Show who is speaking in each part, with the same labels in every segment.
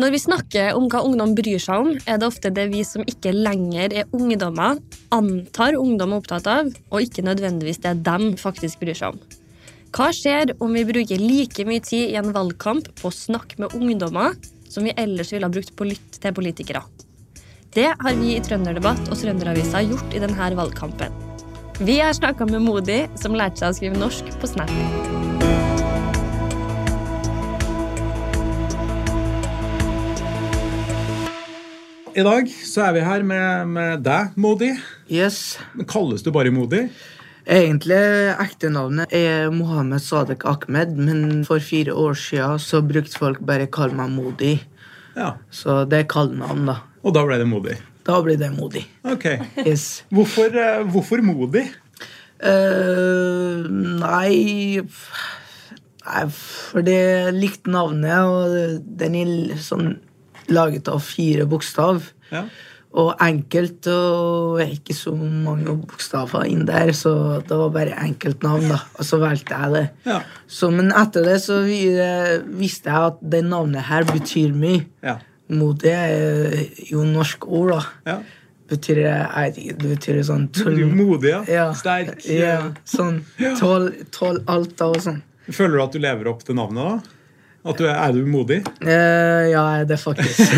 Speaker 1: Når vi snakker om hva ungdom bryr seg om, er det ofte det vi som ikke lenger er ungdommer, antar ungdom er opptatt av, og ikke nødvendigvis det dem faktisk bryr seg om. Hva skjer om vi bruker like mye tid i en valgkamp på å snakke med ungdommer som vi ellers ville ha brukt på å lytte til politikere? Det har vi i Trønderdebatt og Trønderavisa gjort i denne valgkampen. Vi har snakka med Modi, som lærte seg å skrive norsk på Snap.
Speaker 2: I dag så er vi her med, med deg, Modi.
Speaker 3: Yes.
Speaker 2: Men Kalles du bare Modi?
Speaker 3: Egentlig ekte navnet er Mohammed Sadek Ahmed, men for fire år siden så brukte folk bare kall meg Modi.
Speaker 2: Ja.
Speaker 3: Så det er kallenavn, da.
Speaker 2: Og da ble det Modi.
Speaker 3: Da blir det Modi.
Speaker 2: Ok.
Speaker 3: Yes.
Speaker 2: Hvorfor, eh, hvorfor Modi?
Speaker 3: Eh, nei f- Nei, for det likte navnet, og den er l- sånn laget av fire bokstav.
Speaker 2: Ja.
Speaker 3: Og enkelt, og ikke så mange bokstaver inn der, så det var bare enkelt navn, da. Og så valgte jeg det.
Speaker 2: Ja.
Speaker 3: Så, men etter det så vi, eh, visste jeg at det navnet her betyr mye.
Speaker 2: Ja.
Speaker 3: Modig er eh, jo norsk ord, da.
Speaker 2: ja.
Speaker 3: Betyr, eh, jeg vet ikke, det betyr sånn
Speaker 2: Du er
Speaker 3: tull-
Speaker 2: modig, ja.
Speaker 3: ja.
Speaker 2: Sterk. eh,
Speaker 3: Ja, sånn tål, tål alt da og sånn.
Speaker 2: eh, Føler du at du lever opp til navnet, da? At du er, er du modig?
Speaker 3: Eh, ja, jeg er det faktisk.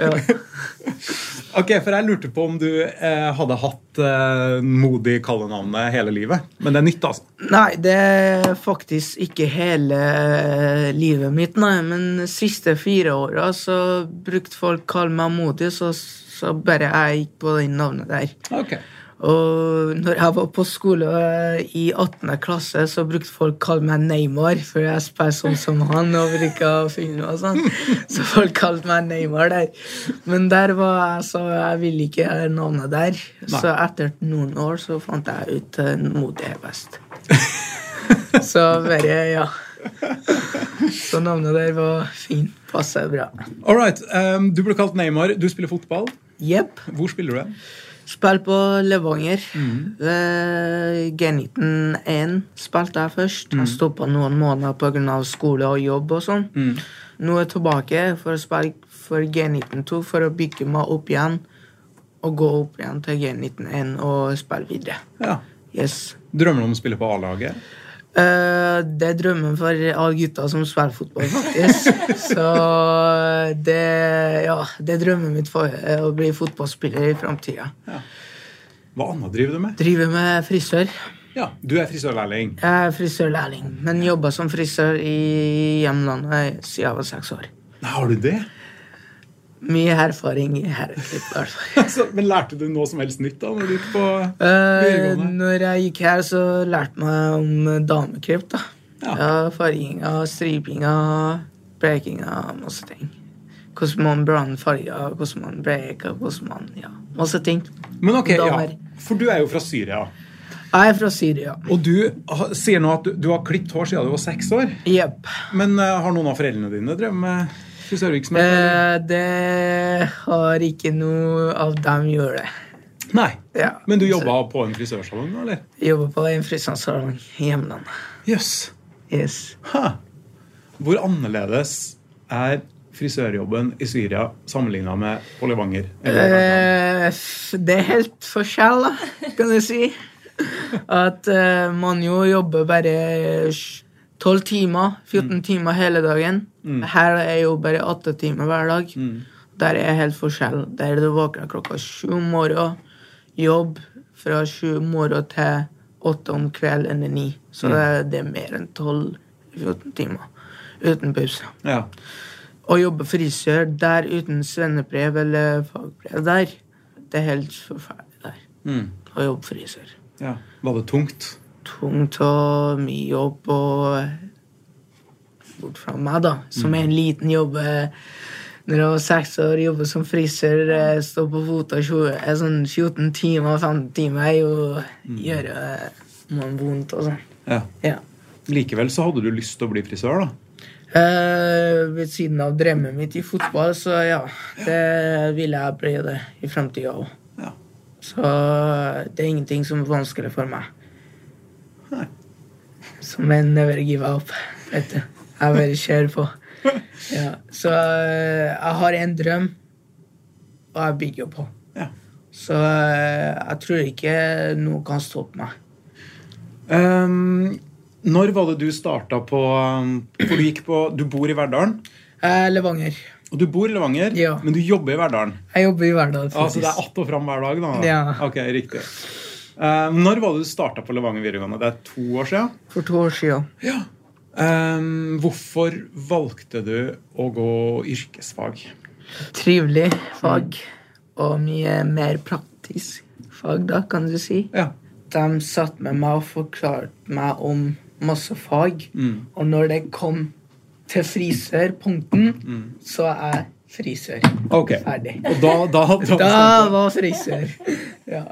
Speaker 3: ja.
Speaker 2: Ok, for Jeg lurte på om du eh, hadde hatt eh, modig kallenavnet hele livet. Men det er nytt, altså.
Speaker 3: Nei, det er faktisk ikke hele eh, livet mitt, nei. Men de siste fire åra så brukte folk kalle meg modig, så, så bare jeg gikk på det navnet der.
Speaker 2: Ok.
Speaker 3: Og når jeg var på skole eh, i 18. klasse, så brukte folk kalle meg Neymar, for jeg spiller sånn som han og bruker å finne og sånn. Så folk kalte meg Neymar der. Men der var jeg, så jeg ville ikke navnet der. Så etter noen år så fant jeg ut eh, modig er best. Så bare, ja. Så navnet der var fint. Passer bra.
Speaker 2: All right, eh, Du ble kalt Neymar. Du spiller fotball.
Speaker 3: Jepp.
Speaker 2: Hvor spiller du hen?
Speaker 3: Spill på Levanger. Eh, Ved G19 1 spilte jeg først. Jeg stoppa noen måneder pga. skole og jobb og sånn. Nå er jeg tilbake for å spille for G19 2 for å bygge meg opp igjen. Og gå opp igjen til G19 1 og spille videre.
Speaker 2: Ja.
Speaker 3: Yes.
Speaker 2: Drømmer du om å spille på A-laget?
Speaker 3: Eh, det er drømmen for alle gutter som spiller fotball, faktisk. Så eh, det Ja, det er drømmen mitt for eh, å bli fotballspiller i framtida.
Speaker 2: Hva annet driver du med?
Speaker 3: Driver med frisør.
Speaker 2: Ja, Du er frisørlærling.
Speaker 3: Jeg er frisørlærling, men jobba som frisør i hjemlandet siden jeg var seks år.
Speaker 2: Har du det?
Speaker 3: Mye erfaring i herreklipp, i hvert fall.
Speaker 2: Altså, men lærte du noe som helst nytt da når du gikk på
Speaker 3: Eh,
Speaker 2: videregående?
Speaker 3: når jeg gikk her, så lærte jeg meg om dameklipp. da.
Speaker 2: Ja.
Speaker 3: Ja. farginga, stripinga, blekinga, masse ting. Hvordan man blander farger, hvordan man breker, hvordan man Ja, masse ting.
Speaker 2: Men ok, ja.
Speaker 3: damer.
Speaker 2: For du er jo fra Syria.
Speaker 3: Jeg er fra Syria.
Speaker 2: Og du ha- sier nå at du, du har klippet hår siden du var seks år.
Speaker 3: Jepp.
Speaker 2: Men eh, har noen av foreldrene dine drevet med frisørvirksomhet? eller?
Speaker 3: Eh, det har ikke noe av dem gjør det.
Speaker 2: Nei.
Speaker 3: ja.
Speaker 2: Men du jobba på en frisørsalong, eller?
Speaker 3: Jobber på en frisørsalong i hjemlandet.
Speaker 2: Jøss.
Speaker 3: Yes.
Speaker 2: Hæ. Hvor annerledes er frisørjobben i Syria sammenligna med på Levanger? Eller Verdalen?
Speaker 3: Eh, f- det er helt forskjell, da, kan du si. At eh, man jo jobber bare sj- 12 timer, 14 timer hele dagen. Her er jo bare 8 timer hver dag. Der er helt forskjell. Der du våkner klokka sju om morgenen, jobb fra sju om morgenen til åtte om kvelden eller ni. Så det, det er mer enn 12-14 timer uten pause.
Speaker 2: ja.
Speaker 3: Å jobbe frisør der uten svennebrev eller fagbrev der, det er helt forferdelig der.
Speaker 2: Mm.
Speaker 3: Å jobbe frisør.
Speaker 2: ja. Var det tungt?
Speaker 3: Tungt og mye jobb og eh, bort fra meg, da, som er en liten jobb. eh, Når jeg var seks år, jobbe som frisør, eh, stå på fot og tjue- eh, sånn 14 timer, 15 timer, er jo gjøre eh, man vondt og sånn.
Speaker 2: Ja.
Speaker 3: Ja.
Speaker 2: Likevel så hadde du lyst til å bli frisør, da.
Speaker 3: Eh, ved siden av drømmen mitt i fotball, så ja. Det ville jeg bli det i fremtida òg.
Speaker 2: Ja.
Speaker 3: Så det er ingenting som er vanskelig for meg.
Speaker 2: Nei.
Speaker 3: Som en never give up. Vet du. Jeg bare kjører på. Ja, så eh, jeg har en drøm, og jeg bygger på.
Speaker 2: Ja.
Speaker 3: Så eh, jeg tror ikke noe kan stoppe meg.
Speaker 2: Ehm, når var det du starta på um, For du gikk på Du bor i Verdalen,
Speaker 3: Jeg er Levanger.
Speaker 2: og du bor i Levanger,
Speaker 3: Ja.
Speaker 2: men du jobber i Verdalen.
Speaker 3: Jeg jobber i hverdagen.
Speaker 2: Altså det er
Speaker 3: faktisk.
Speaker 2: att og fram hver dag, da?
Speaker 3: Ja.
Speaker 2: Ok, riktig. Ehm, når var det du starta på Levanger videregående? Det er to år siden.
Speaker 3: For to år siden.
Speaker 2: Ehm, hvorfor valgte du å gå yrkesfag?
Speaker 3: Trivelig fag, og mye mer praktisk fag, da, kan du si.
Speaker 2: Ja.
Speaker 3: de satt med meg og forklarte meg om masse fag.
Speaker 2: Mm.
Speaker 3: Og når det kom til frisørpunkten, så er jeg frisør.
Speaker 2: Ok.
Speaker 3: Ferdig.
Speaker 2: Og da, da, da,
Speaker 3: Da var frisør. Ja.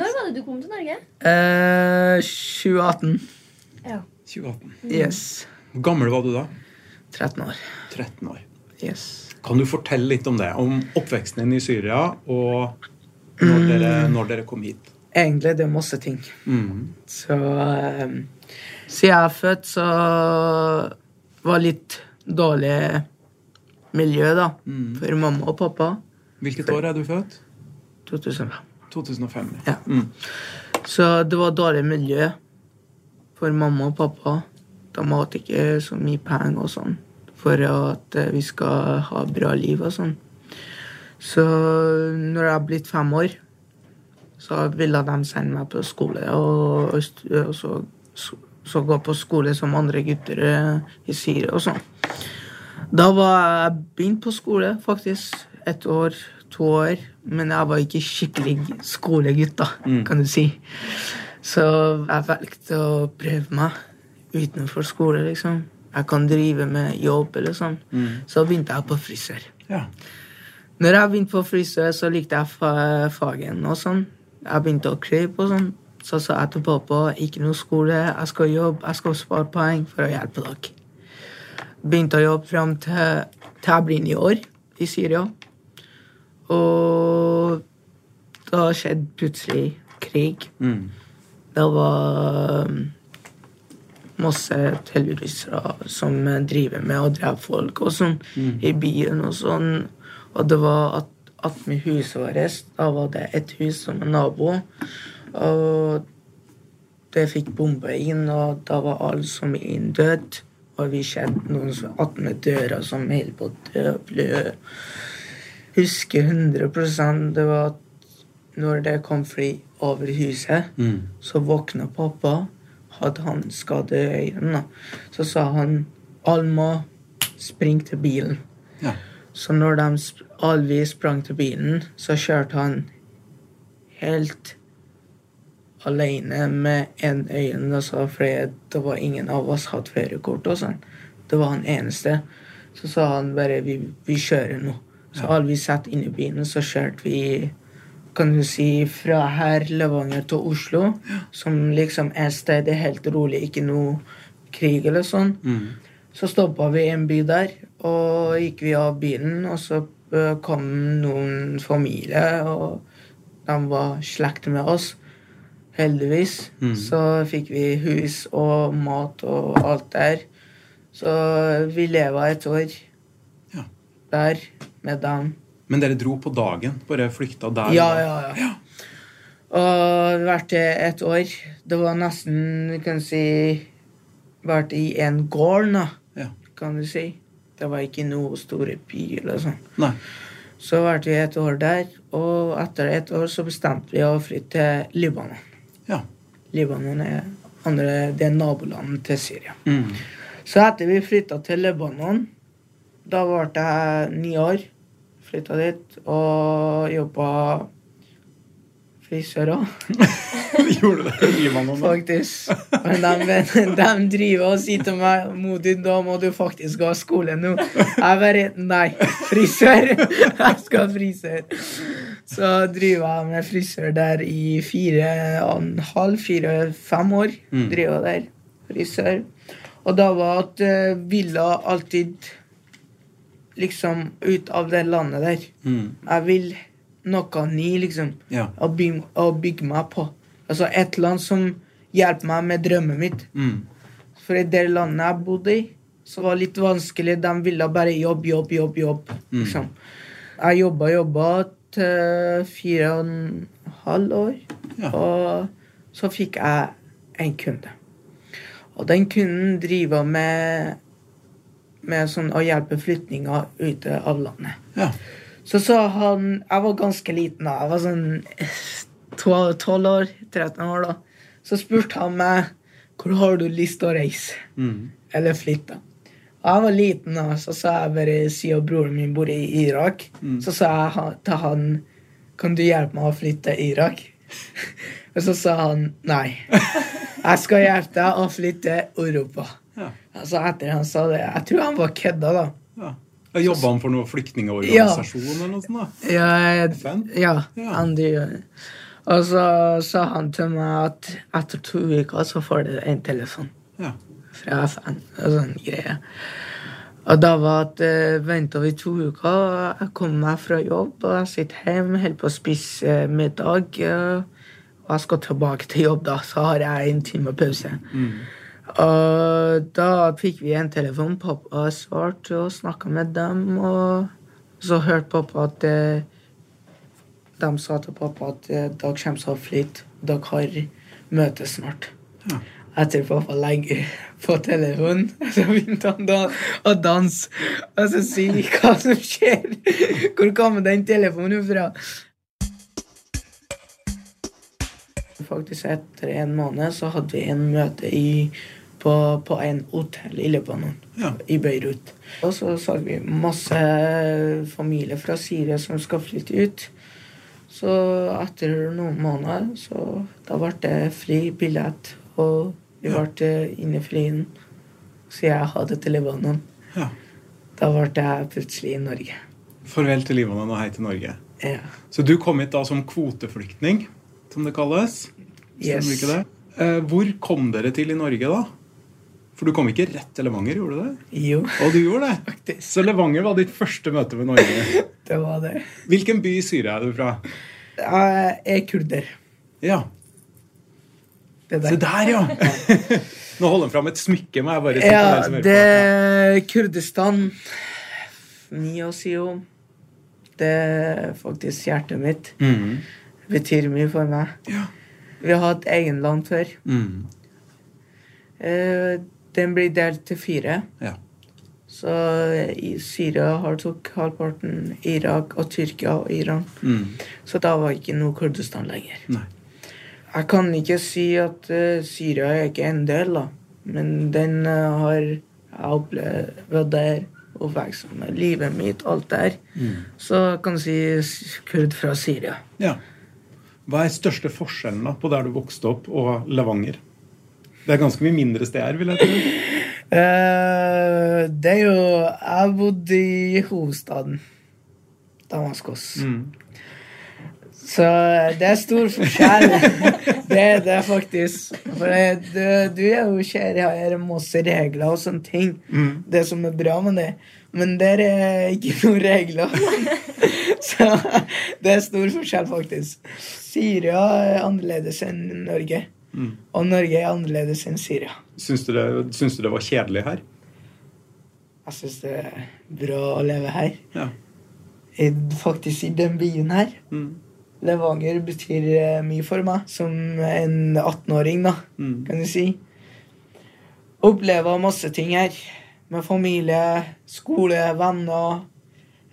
Speaker 1: Når var det du kom til Norge?
Speaker 3: Eh, 2018.
Speaker 1: Ja.
Speaker 2: 2018.
Speaker 3: Yes.
Speaker 2: Hvor gammel var du da?
Speaker 3: 13 år.
Speaker 2: 13 år.
Speaker 3: Yes.
Speaker 2: Kan du fortelle litt om det? Om oppveksten din i Syria, og når dere,
Speaker 3: Mm.
Speaker 2: når dere kom hit?
Speaker 3: Egentlig det er masse ting.
Speaker 2: Mm.
Speaker 3: Så eh, siden jeg er født, så var litt dårlig miljø, da. For mamma og pappa.
Speaker 2: Hvilket år er du født?
Speaker 3: 2005.
Speaker 2: 2005.
Speaker 3: Ja.
Speaker 2: Mm.
Speaker 3: Så det var dårlig miljø for mamma og pappa. De hadde ikke så mye penger og sånn for at eh, vi skal ha bra liv og sånn. Så når jeg er blitt fem år, så ville de sende meg på skole og, og, st- og så, så, så gå på skole som andre gutter eh, i Syria og sånn. Da var jeg begynt på skole, faktisk. Ett år, to år. Men jeg var ikke skikkelig skolegutt, da, kan du si. Så jeg valgte å prøve meg utenfor skole, liksom. Jeg kan drive med jobb eller sånn. Så begynte jeg på frisør.
Speaker 2: Ja.
Speaker 3: Når jeg begynte på frisør, så likte jeg fa fagen og sånn. Jeg begynte å klippe og sånn. Så sa jeg til pappa ikke noe skole, jeg skal jobbe, jeg skal spare poeng for å hjelpe dere. Begynte å jobbe fram til, til jeg blir ni år i Syria. Og da skjedde plutselig krig.
Speaker 2: Mm.
Speaker 3: Det var um, masse terrorister som driver med å drepe folk og sånn i byen og sånn. Og det var at attmed huset vårt, da var det et hus som en nabo. Og det fikk bombe inn, og da var alle som er inn død. Og vi kjente noen som attmed døra som holdt på å dø. blø. Husker 100 det var at når det kom fly over huset,
Speaker 2: Mm.
Speaker 3: så våkna pappa. Hadde han skade i øynene, da. så sa han alle må springe til bilen.
Speaker 2: ja.
Speaker 3: Så når de sp alle vi sprang til bilen, så kjørte han helt alene med en øyne. Da sa fordi det var ingen av oss hatt førerkort og sånn. Det var han eneste. Så sa han bare vi, vi kjører nå. Så alle vi satt inni bilen, så kjørte vi kan du si, fra her, Levanger til Oslo, som liksom er stedet helt rolig, ikke noe krig eller sånn.
Speaker 2: Mm.
Speaker 3: Så stoppa vi i en by der, og gikk vi av bilen, og så eh, kom noen familie, og de var slekt med oss. Heldigvis.
Speaker 2: Mm.
Speaker 3: Så fikk vi hus og mat og alt der. Så vi leva et år
Speaker 2: Ja.
Speaker 3: der med dem.
Speaker 2: Men dere dro på dagen? Bare flykta der? og
Speaker 3: Ja,
Speaker 2: da?
Speaker 3: ja, ja. Og vært det et år. Det var nesten, du kan si Vært i en gård, da
Speaker 2: Ja.
Speaker 3: kan du si. Det var ikke noe store by eller sånn.
Speaker 2: Nei.
Speaker 3: Så varte vi et år der, og etter et år så bestemte vi å flytte til Libanon.
Speaker 2: Ja.
Speaker 3: Libanon er andre, det er nabolandet til Syria.
Speaker 2: Mm.
Speaker 3: Så etter vi flytta til Libanon, da ble jeg ni år, flytta dit og jobba frisør òg.
Speaker 2: Gjorde du det? i Libanon, da?
Speaker 3: Faktisk. Men de, de driver og sier til meg Modin, da må du faktisk gå av skole nå. Jeg bare Nei, frisør! Jeg skal ha frisør. Så driver jeg med frisør der i fire og en halv, fire-fem år. Driver der frisør. Og da var at eh, Villa alltid liksom ut av det landet der.
Speaker 2: Mm.
Speaker 3: Jeg vil noe ny, liksom
Speaker 2: Ja.
Speaker 3: å, by, å bygge meg på. Altså et land som hjelpe meg med drømmet mitt.
Speaker 2: Mm.
Speaker 3: For i det landet jeg bodde i, så var det litt vanskelig. De ville bare jobb, jobb, jobb. jobb. Liksom. Jeg jobba, jobba til fire og en halv år.
Speaker 2: Ja.
Speaker 3: Og så fikk jeg en kunde. Og den kunden driver med, med sånn å hjelpe flyktninger ute av landet.
Speaker 2: Ja.
Speaker 3: Så sa han Jeg var ganske liten da. Jeg var sånn tol- 12 år, 13 år da. Så spurte han meg hvor har du lyst til å reise.
Speaker 2: Mm.
Speaker 3: Eller flytte. Og jeg var liten da, så sa jeg bare siden broren min bor i Irak, så sa jeg ha- til han Kan du hjelpe meg å flytte til Irak? Og så sa han nei. Jeg skal hjelpe deg å flytte til Europa.
Speaker 2: Ja.
Speaker 3: Altså etter han sa det Jeg tror han var kødda, da.
Speaker 2: ja. Jobba han for noen flyktningorganisasjon eller noe sånt? da?
Speaker 3: Ja, jeg-
Speaker 2: FN?
Speaker 3: Ja,
Speaker 2: Ja.
Speaker 3: Andy gjør det. Og så sa han til meg at etter to uker så får du en telefon
Speaker 2: Ja.
Speaker 3: fra FN. Og sånn greie. Og da var at eh, venta vi to uker, og jeg kom meg fra jobb, og jeg sitter hjemme, holder på å spise eh, middag. eh, Og jeg skal tilbake til jobb, da, så har jeg en time pause. Og da fikk vi en telefon. Pappa svarte og snakka med dem. Og så hørte pappa at eh, de sa til pappa at eh, dere kommer til å flytte. Dere har møte snart.
Speaker 2: Ja.
Speaker 3: Etter pappa legger på telefonen, så begynte han da å danse. Og så sier vi hva som skjer. Hvor kommer den telefonen fra? Faktisk Etter en måned så hadde vi en møte i, på, på en hotell i Libanon.
Speaker 2: Ja.
Speaker 3: I Beirut. Og så så vi masse familier fra Syria som skal flytte ut. Så etter noen måneder så da ble det fri billett, og vi ble inne i flyen. Så jeg hadde til Libanon.
Speaker 2: ja.
Speaker 3: Da ble jeg plutselig i Norge.
Speaker 2: Farvel til Libanon og hei til Norge.
Speaker 3: Ja.
Speaker 2: Så du kom hit da som kvoteflyktning, som det kalles. Stemmer
Speaker 3: Yes.
Speaker 2: ikke det? Eh, hvor kom dere til i Norge, da? For du kom ikke rett til Levanger, gjorde du det?
Speaker 3: Jo,
Speaker 2: Og du gjorde det!
Speaker 3: faktisk.
Speaker 2: Så Levanger var ditt første møte med Norge.
Speaker 3: Det var det.
Speaker 2: Hvilken by i Syria er du fra?
Speaker 3: Jeg er kurder.
Speaker 2: Ja,
Speaker 3: Det
Speaker 2: Se
Speaker 3: der.
Speaker 2: der, ja! Nå holder han fram et smykke. må jeg bare si til dere
Speaker 3: Ja,
Speaker 2: som hører
Speaker 3: det
Speaker 2: på.
Speaker 3: er Kurdistan. Niosio. Det er faktisk hjertet mitt.
Speaker 2: Mhm.
Speaker 3: Det betyr mye for meg.
Speaker 2: Ja.
Speaker 3: Vi har hatt egen land før.
Speaker 2: Mhm.
Speaker 3: Eh, Den blir delt til fire.
Speaker 2: ja.
Speaker 3: Så eh, i Syria har tok halvparten Irak og Tyrkia og Iran.
Speaker 2: Mhm.
Speaker 3: Så da var ikke noe Kurdistan lenger.
Speaker 2: Nei.
Speaker 3: Jeg kan ikke si at eh, Syria er ikke en del, da. Men den eh, har jeg opplevd der, oppvekst med livet mitt, alt der. Så jeg kan si s- kurd fra Syria.
Speaker 2: Ja. Hva er største forskjellen da på der du vokste opp, og Levanger? Det er ganske mye mindre steder, vil jeg tro.
Speaker 3: Eh, det er jo Jeg bodde i hovedstaden. Damaskos.
Speaker 2: Mm.
Speaker 3: Så eh, det er stor forskjell. det er det faktisk. For det, du, du er jo kjær i her masse regler og sånne ting. Det som er bra med det. Men der er eh, ikke noen regler. Så det er stor forskjell, faktisk. Syria er annerledes enn Norge.
Speaker 2: Mm.
Speaker 3: Og Norge er annerledes enn Syria.
Speaker 2: Syns du, det, syns du det var kjedelig her?
Speaker 3: Jeg syns det er bra å leve her.
Speaker 2: Ja.
Speaker 3: I, faktisk i den byen her.
Speaker 2: Mm.
Speaker 3: Levanger betyr eh, mye for meg som en 18-åring, da,
Speaker 2: Mm.
Speaker 3: kan du si. Opplever masse ting her. Med familie, skole, venner,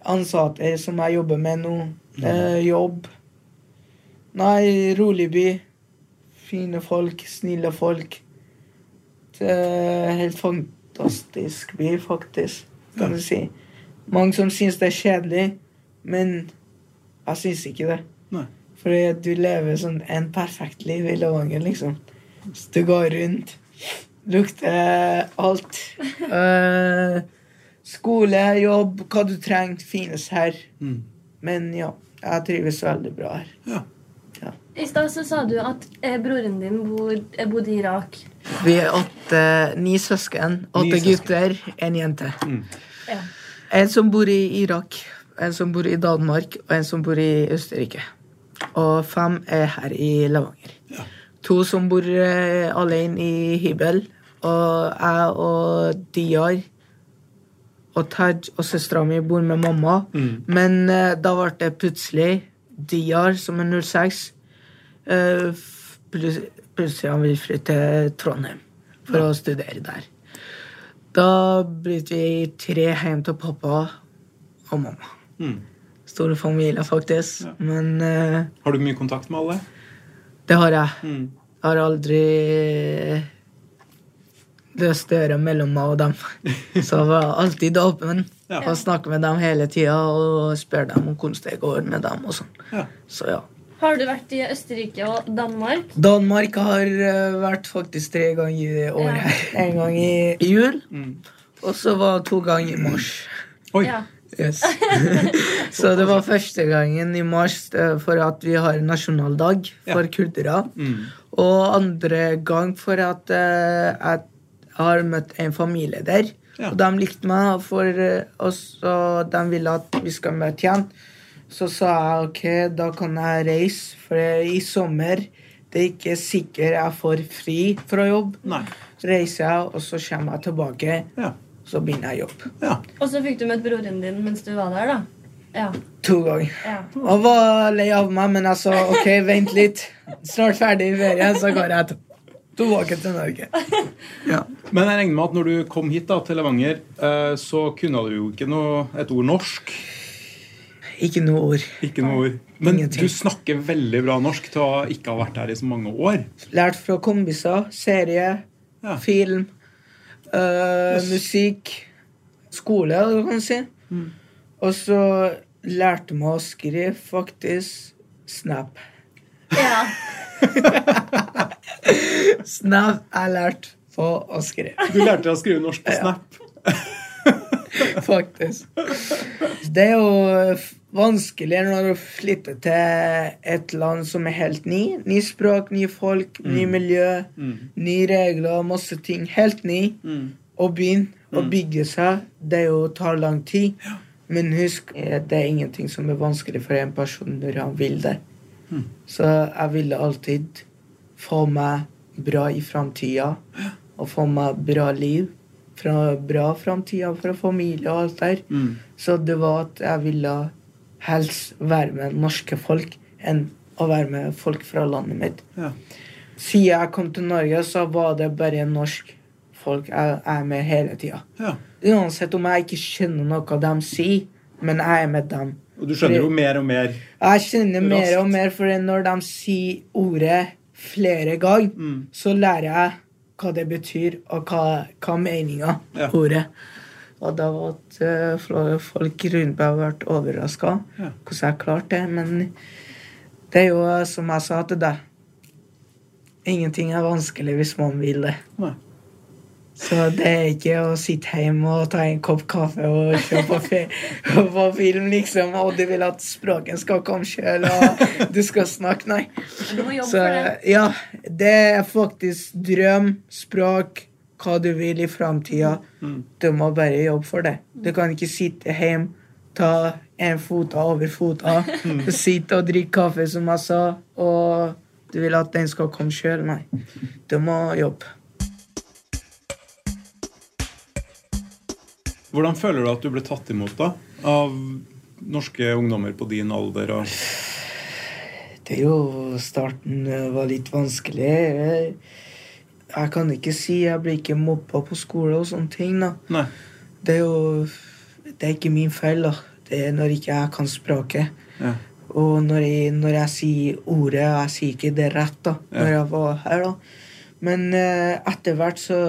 Speaker 3: ansatte eh, som jeg jobber med nå. Eh, jobb. Nei, rolig by. Fine folk, snille folk. Det er helt fantastisk by, faktisk, kan du si. Mange som syns det er kjedelig, men jeg syns ikke det.
Speaker 2: Nei.
Speaker 3: Fordi at du lever sånn en perfekt liv i Levanger, liksom. Så du går rundt, lukter alt. Eh, skole, jobb, hva du trenger, finnes her.
Speaker 2: Mm.
Speaker 3: Men ja, jeg trives veldig bra her.
Speaker 2: Ja.
Speaker 4: I stad så sa du at eh, broren din bor, eh, bodde i Irak.
Speaker 3: Vi er åtte, ni søsken.
Speaker 2: Åtte Ni søsken.
Speaker 3: gutter, én jente.
Speaker 4: Ja.
Speaker 3: En som bor i Irak, en som bor i Danmark, og en som bor i Østerrike. Og fem er her i Levanger. To som bor eh, alene i hybel. Og jeg og Diyar og Taj og søstera mi bor med mamma.
Speaker 2: Mm.
Speaker 3: Men eh, da ble det plutselig Diyar, som er 06 eh, f- plus- Plutselig han vil flytte til Trondheim for å studere der. Da blir vi tre hjem til pappa og mamma.
Speaker 2: Mm.
Speaker 3: Store familier, faktisk.
Speaker 2: Ja.
Speaker 3: Men eh,
Speaker 2: Har du mye kontakt med alle?
Speaker 3: det har jeg.
Speaker 2: Mm.
Speaker 3: Jeg har aldri løst døra mellom meg og dem. Så jeg var alltid åpen
Speaker 2: Ja.
Speaker 3: og snakket med dem hele tida og spør dem om hvordan det går med dem. og sånn.
Speaker 2: Ja.
Speaker 3: Så ja.
Speaker 4: Har du vært i Østerrike og Danmark?
Speaker 3: Danmark har eh, vært faktisk tre ganger i år her. En gang i i jul,
Speaker 2: Mm.
Speaker 3: og så var det to ganger i mars.
Speaker 2: Oi.
Speaker 4: Ja.
Speaker 3: Yes. så det var første gangen i mars eh, for at vi har nasjonaldag for
Speaker 2: Ja.
Speaker 3: kurdere.
Speaker 2: Mm.
Speaker 3: Og andre gang for at eh, jeg har møtt en familie der.
Speaker 2: Ja.
Speaker 3: Og de likte meg, for, eh, og så de ville at vi skal møte igjen. Så sa jeg ok, da kan jeg reise, for i sommer det er ikke sikkert jeg får fri fra jobb.
Speaker 2: Nei.
Speaker 3: Så reiser jeg, og så kommer jeg tilbake,
Speaker 2: Ja.
Speaker 3: så begynner jeg jobb.
Speaker 2: ja.
Speaker 4: Og så fikk du møtt broren din mens du var der, da. Ja.
Speaker 3: To ganger.
Speaker 4: ja.
Speaker 3: Jeg var lei av meg, men jeg sa ok, vent litt. Snart ferdig i ferien, så går jeg til- tilbake til Norge. Ja.
Speaker 2: Men jeg regner med at når du kom hit da, til Levanger, eh, så kunne du jo ikke noe, et ord norsk.
Speaker 3: Ikke noe ord.
Speaker 2: Ikke noe ord. Men
Speaker 3: Ingenting.
Speaker 2: du snakker veldig bra norsk til å ikke ha vært her i så mange år.
Speaker 3: Lært fra kompiser, serie,
Speaker 2: Ja.
Speaker 3: film, øh, musikk, skole, du kan si.
Speaker 2: Mm.
Speaker 3: Og så lærte meg å skrive faktisk Snap.
Speaker 4: ja.
Speaker 3: Snap er lært på å skrive,
Speaker 2: Du lærte deg å skrive norsk på
Speaker 3: Ja.
Speaker 2: Snap.
Speaker 3: faktisk. Det er jo f- vanskelig når du flytter til et land som er helt ny. Ny språk, nye folk, ny miljø,
Speaker 2: Mm.
Speaker 3: nye regler, masse ting. Helt ny.
Speaker 2: Mm.
Speaker 3: Å begynne å bygge seg, det jo tar lang tid. Men husk, eh, det er ingenting som er vanskelig for en person når han vil det. Så jeg ville alltid få meg bra i framtida. Og få meg bra liv. Fra bra framtida fra familie og alt der.
Speaker 2: Mm.
Speaker 3: Så det var at jeg ville helst være med norske folk enn å være med folk fra landet mitt.
Speaker 2: Ja.
Speaker 3: Siden jeg kom til Norge, så var det bare norsk folk jeg er med hele tida.
Speaker 2: ja.
Speaker 3: Uansett om jeg ikke skjønner noe de sier, men jeg er med dem.
Speaker 2: Og du skjønner jo mer og mer.
Speaker 3: Jeg skjønner mer
Speaker 2: Raskt.
Speaker 3: og mer, for når de sier ordet flere ganger,
Speaker 2: Mm.
Speaker 3: så lærer jeg hva det betyr, og hva, hva meninga
Speaker 2: Ja.
Speaker 3: ordet. Og da var at eh, fl- folk rundt meg ble overraska
Speaker 2: Ja.
Speaker 3: hvordan jeg klarte det. Men det er jo eh, som jeg sa til deg Ingenting er vanskelig hvis man vil det.
Speaker 2: Nei.
Speaker 3: Så det er ikke å sitte hjemme og ta en kopp kaffe og se på, fe- og på film, liksom, og du vil at språket skal komme sjøl, og du skal snakke, nei.
Speaker 4: Du må jobbe
Speaker 3: Så
Speaker 4: for det.
Speaker 3: ja, det er faktisk drøm, språk, hva du vil i framtida. Du må bare jobbe for det. Du kan ikke sitte hjemme, ta en fota over fota, sitte og drikke kaffe, som jeg sa, og du vil at den skal komme sjøl. Nei. Du må jobbe.
Speaker 2: Hvordan føler du at du ble tatt imot da? Av norske ungdommer på din alder? Og...
Speaker 3: Det er jo Starten eh, var litt vanskelig. Jeg- Jeg kan ikke si jeg blir ikke mobba på skole og sånne ting. da.
Speaker 2: Nei.
Speaker 3: Det er jo Det er ikke min feil, da. Det er når ikke jeg kan språket.
Speaker 2: Ja.
Speaker 3: Og når jeg, når jeg sier ordet, og jeg sier ikke det rett, da. Når jeg var her, da. Men eh, etter hvert så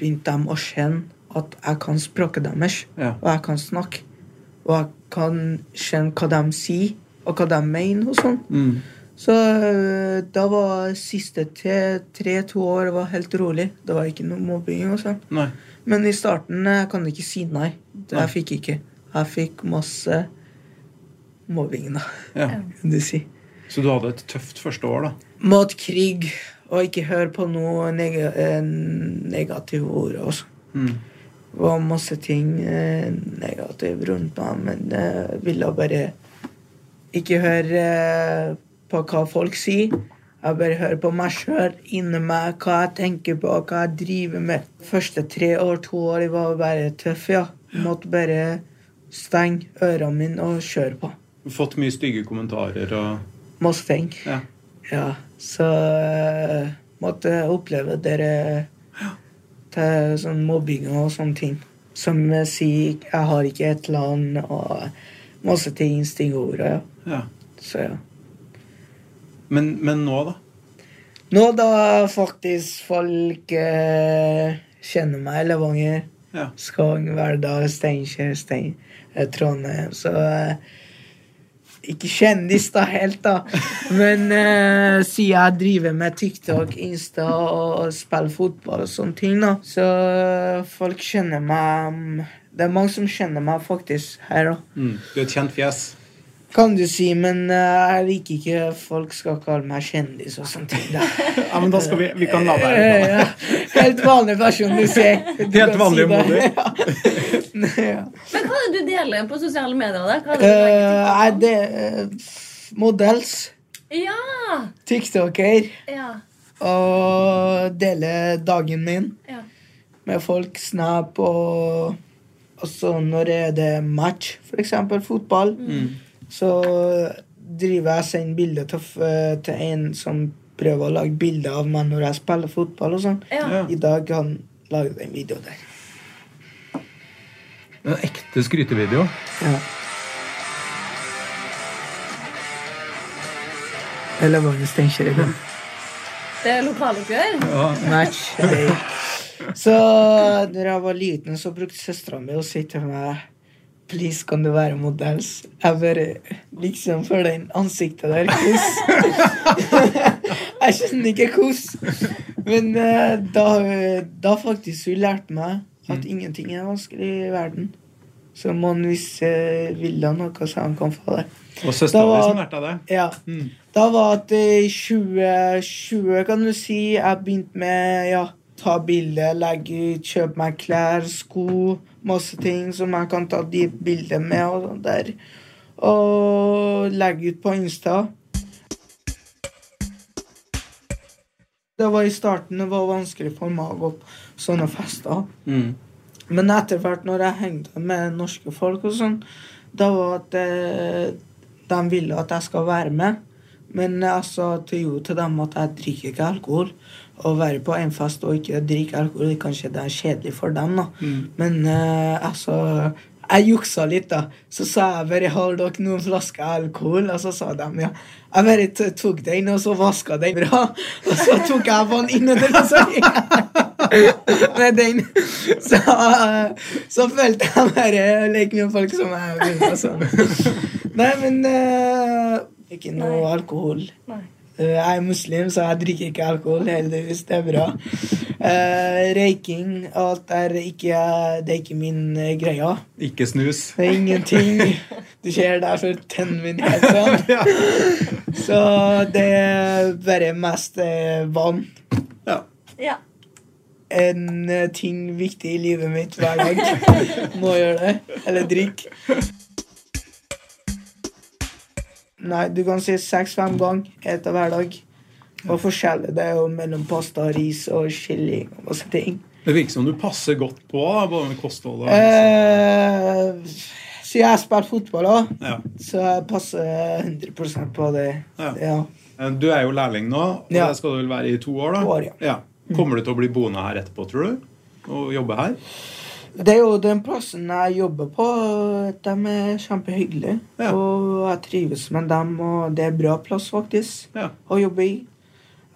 Speaker 3: begynte de å kjenne at jeg kan språket deres.
Speaker 2: Ja.
Speaker 3: Og jeg kan snakke. Og jeg kan kjenne hva de sier, og hva de mener, og sånn.
Speaker 2: Mm.
Speaker 3: Så øh, da var siste tre-to år var helt rolig. Det var ikke noe mobbing. og sånn.
Speaker 2: Nei.
Speaker 3: Men i starten jeg kan ikke si nei. Det
Speaker 2: Nei.
Speaker 3: jeg fikk ikke. Jeg fikk masse mobbing, da,
Speaker 2: Ja.
Speaker 3: kan du si.
Speaker 2: Så du hadde et tøft første år, da?
Speaker 3: Mot krig, og ikke hør på noe neg eh, negative ord. altså. også.
Speaker 2: Mm.
Speaker 3: Det var masse ting eh, negative rundt meg, men jeg ville bare ikke høre eh, på hva eh, folk sier. Jeg bare hører på meg sjøl, inni meg, hva jeg tenker på, hva jeg driver med. første tre år, to år, jeg var bare tøff, ja. Måtte bare stenge ørene mine og kjøre på.
Speaker 2: Fått mye stygge kommentarer og
Speaker 3: Må stenge.
Speaker 2: Ja.
Speaker 3: Ja, så eh, måtte jeg oppleve dere til sånn mobbing og sånne ting. Som eh, sier 'jeg har ikke et land' og masse ting, stingord og ja.
Speaker 2: ja.
Speaker 3: Så ja.
Speaker 2: Men, men nå, da?
Speaker 3: Nå da faktisk folk eh, kjenner meg i Levanger,
Speaker 2: Ja.
Speaker 3: Skogn, Verdal, Steinkjer, Stein, eh, Trondheim, så eh, ikke kjendis da helt, da. Men eh, siden jeg driver med TikTok, Insta og spiller fotball og sånne ting, da, så eh, folk kjenner meg mm, Det er mange som kjenner meg faktisk her òg.
Speaker 2: Mm. Du er et kjent fjes.
Speaker 3: Kan du si, men eh, jeg liker ikke folk skal kalle meg kjendis og sånne ting. da.
Speaker 2: Ja, men da skal vi, vi kan la
Speaker 3: Ja,
Speaker 2: være.
Speaker 3: ja. Helt vanlig person du ser. Du kan si
Speaker 2: vanlig
Speaker 3: det.
Speaker 2: moder.
Speaker 3: Ja.
Speaker 4: Men hva er det du deler på sosiale medier? da? Hva er det du legger
Speaker 3: Eh, er det eh, models,
Speaker 4: til? Ja!
Speaker 3: tiktoker
Speaker 4: Ja.
Speaker 3: og dele dagen min
Speaker 4: ja.
Speaker 3: med folk, snap og også når er det match, for eksempel fotball, så driver jeg og sender bilder til, f- eh, til en som prøver å lage bilder av meg når jeg spiller fotball og sånn.
Speaker 4: Ja.
Speaker 3: I dag kan han lage en video der.
Speaker 2: En ekte skrytevideo.
Speaker 3: Ja. Eller var det Steinkjer i går?
Speaker 4: Det er lokaloppgjør?
Speaker 2: Ja.
Speaker 3: Match. Hey. Så da jeg var liten, så brukte søstera mi å si til meg Please, kan du være modells? Jeg bare liksom for den ansiktet der. Kos. jeg skjønner ikke kos. Men eh, da, da faktisk hun lærte meg at ingenting er vanskelig i verden. Så man hvis eh, vil ha noe, så han kan få det.
Speaker 2: Og søstera
Speaker 3: Da
Speaker 2: di
Speaker 3: var-
Speaker 2: som lærte deg det.
Speaker 3: Ja.
Speaker 2: Mm.
Speaker 3: Da var det i 2020, kan du si. Jeg begynte med ja, ta bilder, legge ut, kjøpe meg klær, sko. Masse ting som jeg kan ta de bilder med. Og sånn der. Og legge ut på Insta. Det var i starten det var vanskelig for meg å gå på sånne fester.
Speaker 2: Mm.
Speaker 3: Men etter hvert når jeg hengte med norske folk og sånn, da var at eh, de ville at jeg skal være med. Men jeg sa til jo til dem at jeg drikker ikke alkohol. Å være på en fest og ikke drikke alkohol, kanskje det er kjedelig for dem, da. Men eh, altså Jeg juksa litt, da. Så sa jeg bare 'Har dere noen flasker alkohol?' Og så sa de ja. Jeg bare t- tok den, og så vaska den bra. Og så tok jeg vann inni den, og så med den. Så, så følte jeg bare like mye folk som jeg ville. Altså. Nei, men eh, Ikke noe
Speaker 4: Nei.
Speaker 3: alkohol.
Speaker 4: Nei.
Speaker 3: Eh, jeg er muslim, så jeg drikker ikke alkohol. Heldigvis, det er bra. Eh, røyking alt er ikke Det er ikke min eh, greie.
Speaker 2: Ikke snus.
Speaker 3: Det er ingenting. Du ser derfor tennene mine helt sånn.
Speaker 2: Ja.
Speaker 3: Så det er bare mest eh, vann.
Speaker 2: Ja.
Speaker 4: Ja.
Speaker 3: en eh, ting viktig i livet mitt hver dag. Må gjøre det. Eller drikk. Nei, du kan si seks-fem ganger etter hver dag. Og forskjellig det er jo mellom pasta, ris og kylling og masse ting.
Speaker 2: Det virker som du passer godt på da, både med kosthold og
Speaker 3: Eh, så jeg har spilt fotball òg,
Speaker 2: ja.
Speaker 3: så jeg passer 100 på det.
Speaker 2: Ja.
Speaker 3: Ja.
Speaker 2: Eh, Du er jo lærling nå, og
Speaker 3: Ja.
Speaker 2: det skal du vel være i to år? da?
Speaker 3: To år, ja. Mm.
Speaker 2: Kommer du til å bli boende her etterpå, tror du? Og jobbe her?
Speaker 3: Det er jo den plassen jeg jobber på. De er kjempehyggelige.
Speaker 2: Ja.
Speaker 3: Og jeg trives med dem, og det er bra plass faktisk
Speaker 2: Ja.
Speaker 3: å jobbe i.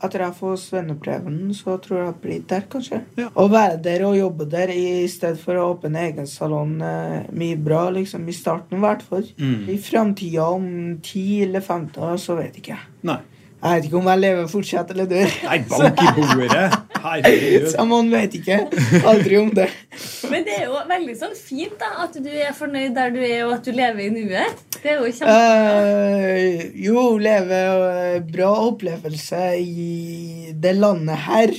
Speaker 3: Etter jeg får svenneprøven, så tror jeg jeg blir der, kanskje.
Speaker 2: Ja.
Speaker 3: Å være der og jobbe der i stedet for å åpne egen salon eh, mye bra, liksom i starten i hvert fall.
Speaker 2: Mm.
Speaker 3: I framtida om 10 eller 15 år, så vet ikke jeg.
Speaker 2: Nei.
Speaker 3: Jeg vet ikke om jeg lever fortsatt eller dør.
Speaker 2: Nei, bank i bordet! Herregud.
Speaker 3: Så man vet ikke. Aldri om det.
Speaker 4: Men det er jo veldig sånn fint da, at du er fornøyd der du er, og at du lever i nuet. Det er jo kjempe...
Speaker 3: Eh, jo, leve eh, bra opplevelse i det landet her.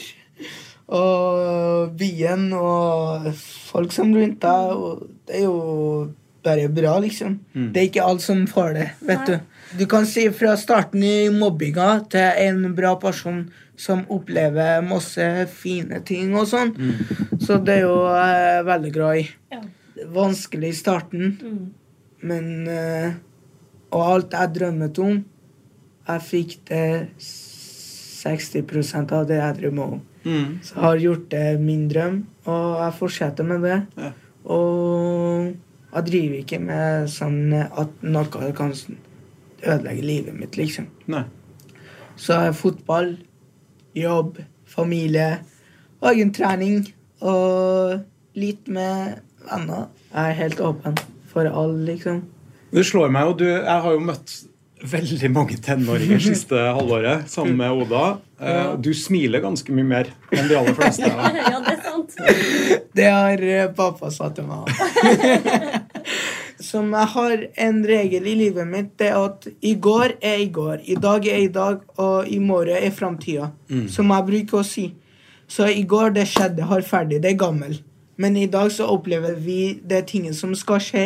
Speaker 3: Og byen og folk som rundt deg. Og det er jo bare bra, liksom. Det er ikke alle som får det, vet
Speaker 4: Nei.
Speaker 3: du. Du kan si fra starten i mobbinga til en bra person som opplever masse fine ting og sånn. Så det er jo eh, veldig glad i.
Speaker 4: Ja.
Speaker 3: Vanskelig i starten,
Speaker 4: Mm.
Speaker 3: men eh, Og alt jeg drømmet om, jeg fikk det 60 av det jeg drømmer om.
Speaker 2: Mm.
Speaker 3: Så jeg har gjort det min drøm, og jeg fortsetter med det.
Speaker 2: Ja.
Speaker 3: Og jeg driver ikke med sånn at noe kan ødelegge livet mitt, liksom.
Speaker 2: Nei.
Speaker 3: Så jeg har fotball, jobb, familie, og egen trening. Og litt med venner. Jeg er helt åpen for alle, liksom.
Speaker 2: Det slår meg jo, du, jeg har jo møtt veldig mange tenåringer siste halvåret sammen med Oda. Eh, Du smiler ganske mye mer enn de aller fleste. Ja.
Speaker 4: ja, det er sant.
Speaker 3: Det har eh, pappa sagt til meg. Som jeg har en regel i livet mitt, det er at i går er i går, i dag er i dag, og i morgen er framtida. Som jeg bruker å si. Så i går det skjedde, har ferdig, det er gammel. Men i dag så opplever vi det tinget som skal skje,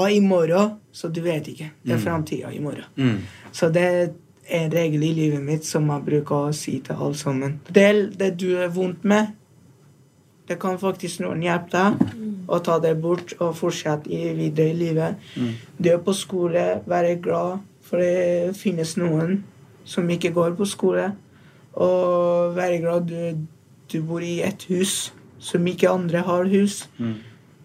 Speaker 3: og i morgen Så du vet ikke. Det er framtida i morgen.
Speaker 2: Mm.
Speaker 3: Så det er en regel i livet mitt som jeg bruker å si til alle sammen. Del det du er vondt med. Det kan faktisk noen hjelpe deg å ta det bort og fortsette i- videre i livet. Det å på skole, være glad, for det finnes noen som ikke går på skole. Og være glad du, du bor i et hus som ikke andre har hus.
Speaker 2: Mm.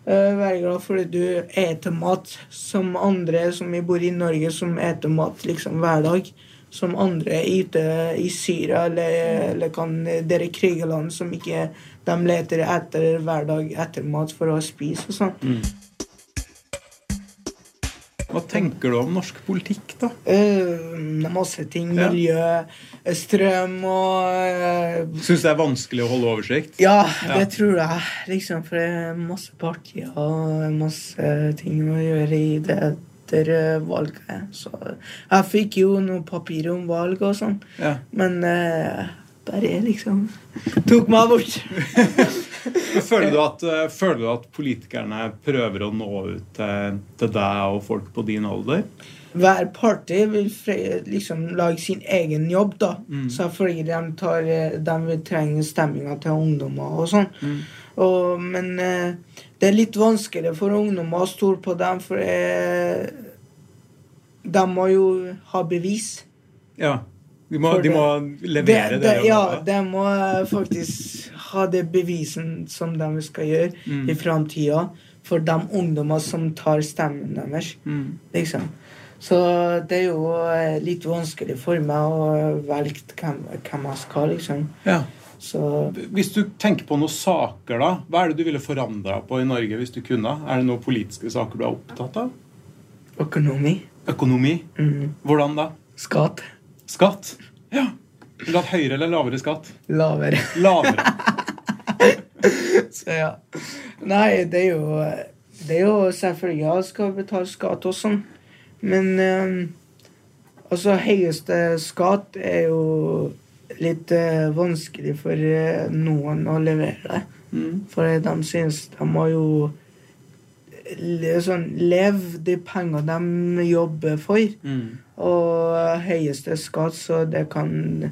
Speaker 3: Eh, Være glad for at du eter mat som andre som vi bor i Norge, som eter mat liksom hver dag. Som andre ute i Syria eller, eller kan dere krigerland som ikke de leter etter hver dag etter mat for å spise og sånn.
Speaker 2: Hva tenker du om norsk politikk, da?
Speaker 3: Eh, masse ting.
Speaker 2: Ja.
Speaker 3: Miljø, eh, strøm og eh,
Speaker 2: Syns det er vanskelig å holde oversikt?
Speaker 3: Ja,
Speaker 2: Ja.
Speaker 3: det tror jeg. Liksom, for det er masse partier og masse ting å gjøre i det etter eh, valget. Så jeg fikk jo noe papir om valg og sånn,
Speaker 2: Ja.
Speaker 3: men eh, bare liksom tok meg bort.
Speaker 2: Føler du, at, eh, føler du at politikerne prøver å nå ut til, til deg og folk på din alder?
Speaker 3: Hver parti vil fre- liksom lage sin egen jobb, da.
Speaker 2: Mm.
Speaker 3: Så fordi de, tar, eh, de vil trenge stemminga til ungdommer og sånn.
Speaker 2: Mm.
Speaker 3: Og, men eh, det er litt vanskeligere for ungdommer å stole på dem, for eh, de må jo ha bevis.
Speaker 2: Ja. De må,
Speaker 3: For
Speaker 2: de
Speaker 3: det-
Speaker 2: må levere det.
Speaker 3: det,
Speaker 2: de
Speaker 3: ja,
Speaker 2: lover.
Speaker 3: de må eh, faktisk ha det bevisen som de skal gjøre
Speaker 2: Mm.
Speaker 3: i framtida for de ungdommer som tar stemmen deres.
Speaker 2: Mm.
Speaker 3: Liksom. Så det er jo eh, litt vanskelig for meg å velge hvem, hvem jeg skal, liksom.
Speaker 2: ja.
Speaker 3: Så
Speaker 2: Hvis du tenker på noen saker, da, hva er det du ville forandra på i Norge hvis du kunne? Er det noen politiske saker du er opptatt av?
Speaker 3: økonomi
Speaker 2: Økonomi?
Speaker 3: mm.
Speaker 2: Hvordan da?
Speaker 3: Skatt
Speaker 2: Skatt? Ja. Vil du ha høyere eller lavere skatt?
Speaker 3: lavere.
Speaker 2: Lavere.
Speaker 3: Så ja. Nei, det er jo Det er jo selvfølgelig jeg skal betale skatt og sånn, men eh, Altså, høyeste skatt er jo litt eh, vanskelig for eh, noen å levere det.
Speaker 2: Mm.
Speaker 3: For de synes de må jo le, sånn, leve de penger de jobber for.
Speaker 2: Mm.
Speaker 3: Og høyeste skatt, så det kan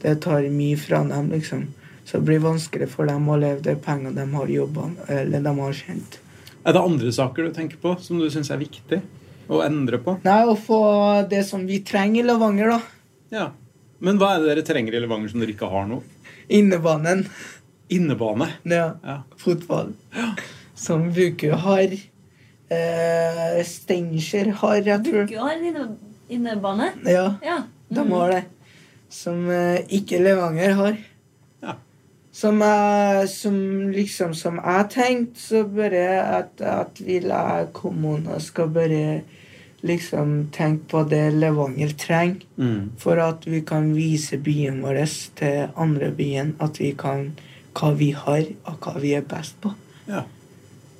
Speaker 3: Det tar mye fra dem, liksom. Så det blir vanskelig for dem å leve de pengene de har jobba eller de har tjent.
Speaker 2: Er det andre saker du tenker på som du syns er viktig å endre på?
Speaker 3: Nei, å få det som vi trenger i Levanger, da.
Speaker 2: Ja. Men hva er det dere trenger i Levanger som dere ikke har nå?
Speaker 3: Innebanen.
Speaker 2: Innebane.
Speaker 3: Ja.
Speaker 2: Ja.
Speaker 3: Fotball. Som Bukø har. Eh, Steinkjer har, jeg tror.
Speaker 4: Ikke har inne- innebane.
Speaker 3: Ja,
Speaker 4: Ja.
Speaker 3: de har det. Som eh, ikke Levanger har.
Speaker 2: Ja.
Speaker 3: Som, jeg, som liksom som jeg tenkte, så bare at, at vi lar kommuner skal bare liksom tenke på det Levanger trenger.
Speaker 2: Mm.
Speaker 3: For at vi kan vise byen vår til andre byen at vi kan hva vi har, og hva vi er best på.
Speaker 2: ja.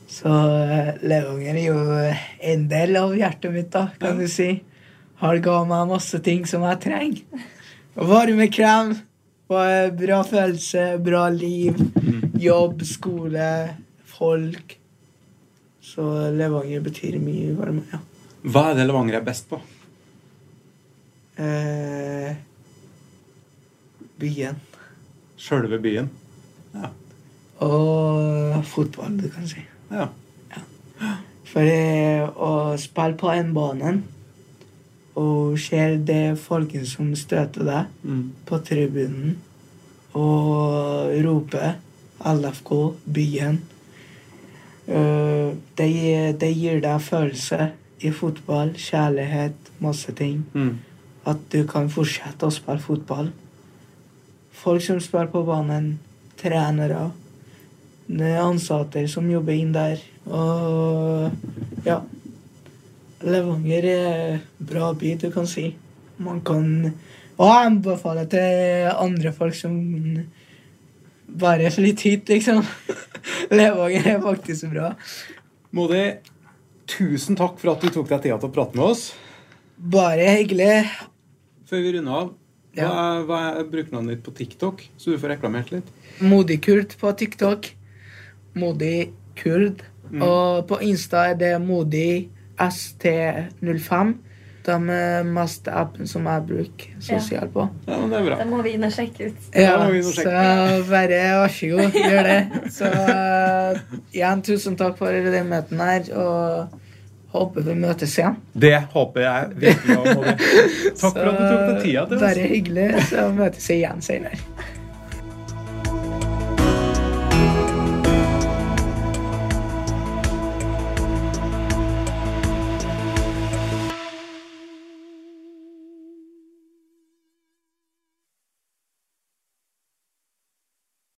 Speaker 3: Så eh, Levanger er jo eh, en del av hjertet mitt, da, kan du si. Har ga meg masse ting som jeg trenger. Varmekrem, var bra følelse, bra liv, jobb, skole, folk. Så Levanger betyr mye for meg, ja.
Speaker 2: Hva er det Levanger er best på?
Speaker 3: Eh, byen.
Speaker 2: Sjølve byen? Ja.
Speaker 3: Og fotball, du kan si.
Speaker 2: ja.
Speaker 3: For det å spille på en bane og ser det folken som støter deg
Speaker 2: Mm.
Speaker 3: på tribunen, og roper LFK, byen Eh, det, gir- det gir deg følelse i fotball, kjærlighet, masse ting.
Speaker 2: Mm.
Speaker 3: At du kan fortsette å spille fotball. Folk som spiller på banen, trenere, ansatte som jobber inn der. Og ja. Levanger er bra by, du kan si. Man kan Og jeg anbefaler til andre folk som bare flytter hit, liksom. Levanger er faktisk bra.
Speaker 2: Modi, tusen takk for at du tok deg tida til å prate med oss.
Speaker 3: Bare hyggelig.
Speaker 2: Før vi runder av, hva
Speaker 3: Ja.
Speaker 2: er, hva er brukernavnet ditt på TikTok? Så du får reklamert litt.
Speaker 3: Modig Kurd på TikTok. Modig Kurd.
Speaker 2: Mm.
Speaker 3: Og på Insta er det Modig ST05. Den eh, mest appen som jeg bruker sosial på.
Speaker 2: Ja, men Det er bra.
Speaker 4: Da må vi inn og sjekke ut.
Speaker 2: Ja,
Speaker 3: Ja,
Speaker 2: vi må
Speaker 3: så
Speaker 2: sjekke.
Speaker 3: bare vær så god, gjør det. Så eh, igjen, tusen takk for det møtet her, og håper vi møtes igjen.
Speaker 2: Det håper jeg virkelig. av, Modi. Takk for at du tok deg tida til oss.
Speaker 3: Bare hyggelig, så møtes vi igjen senere.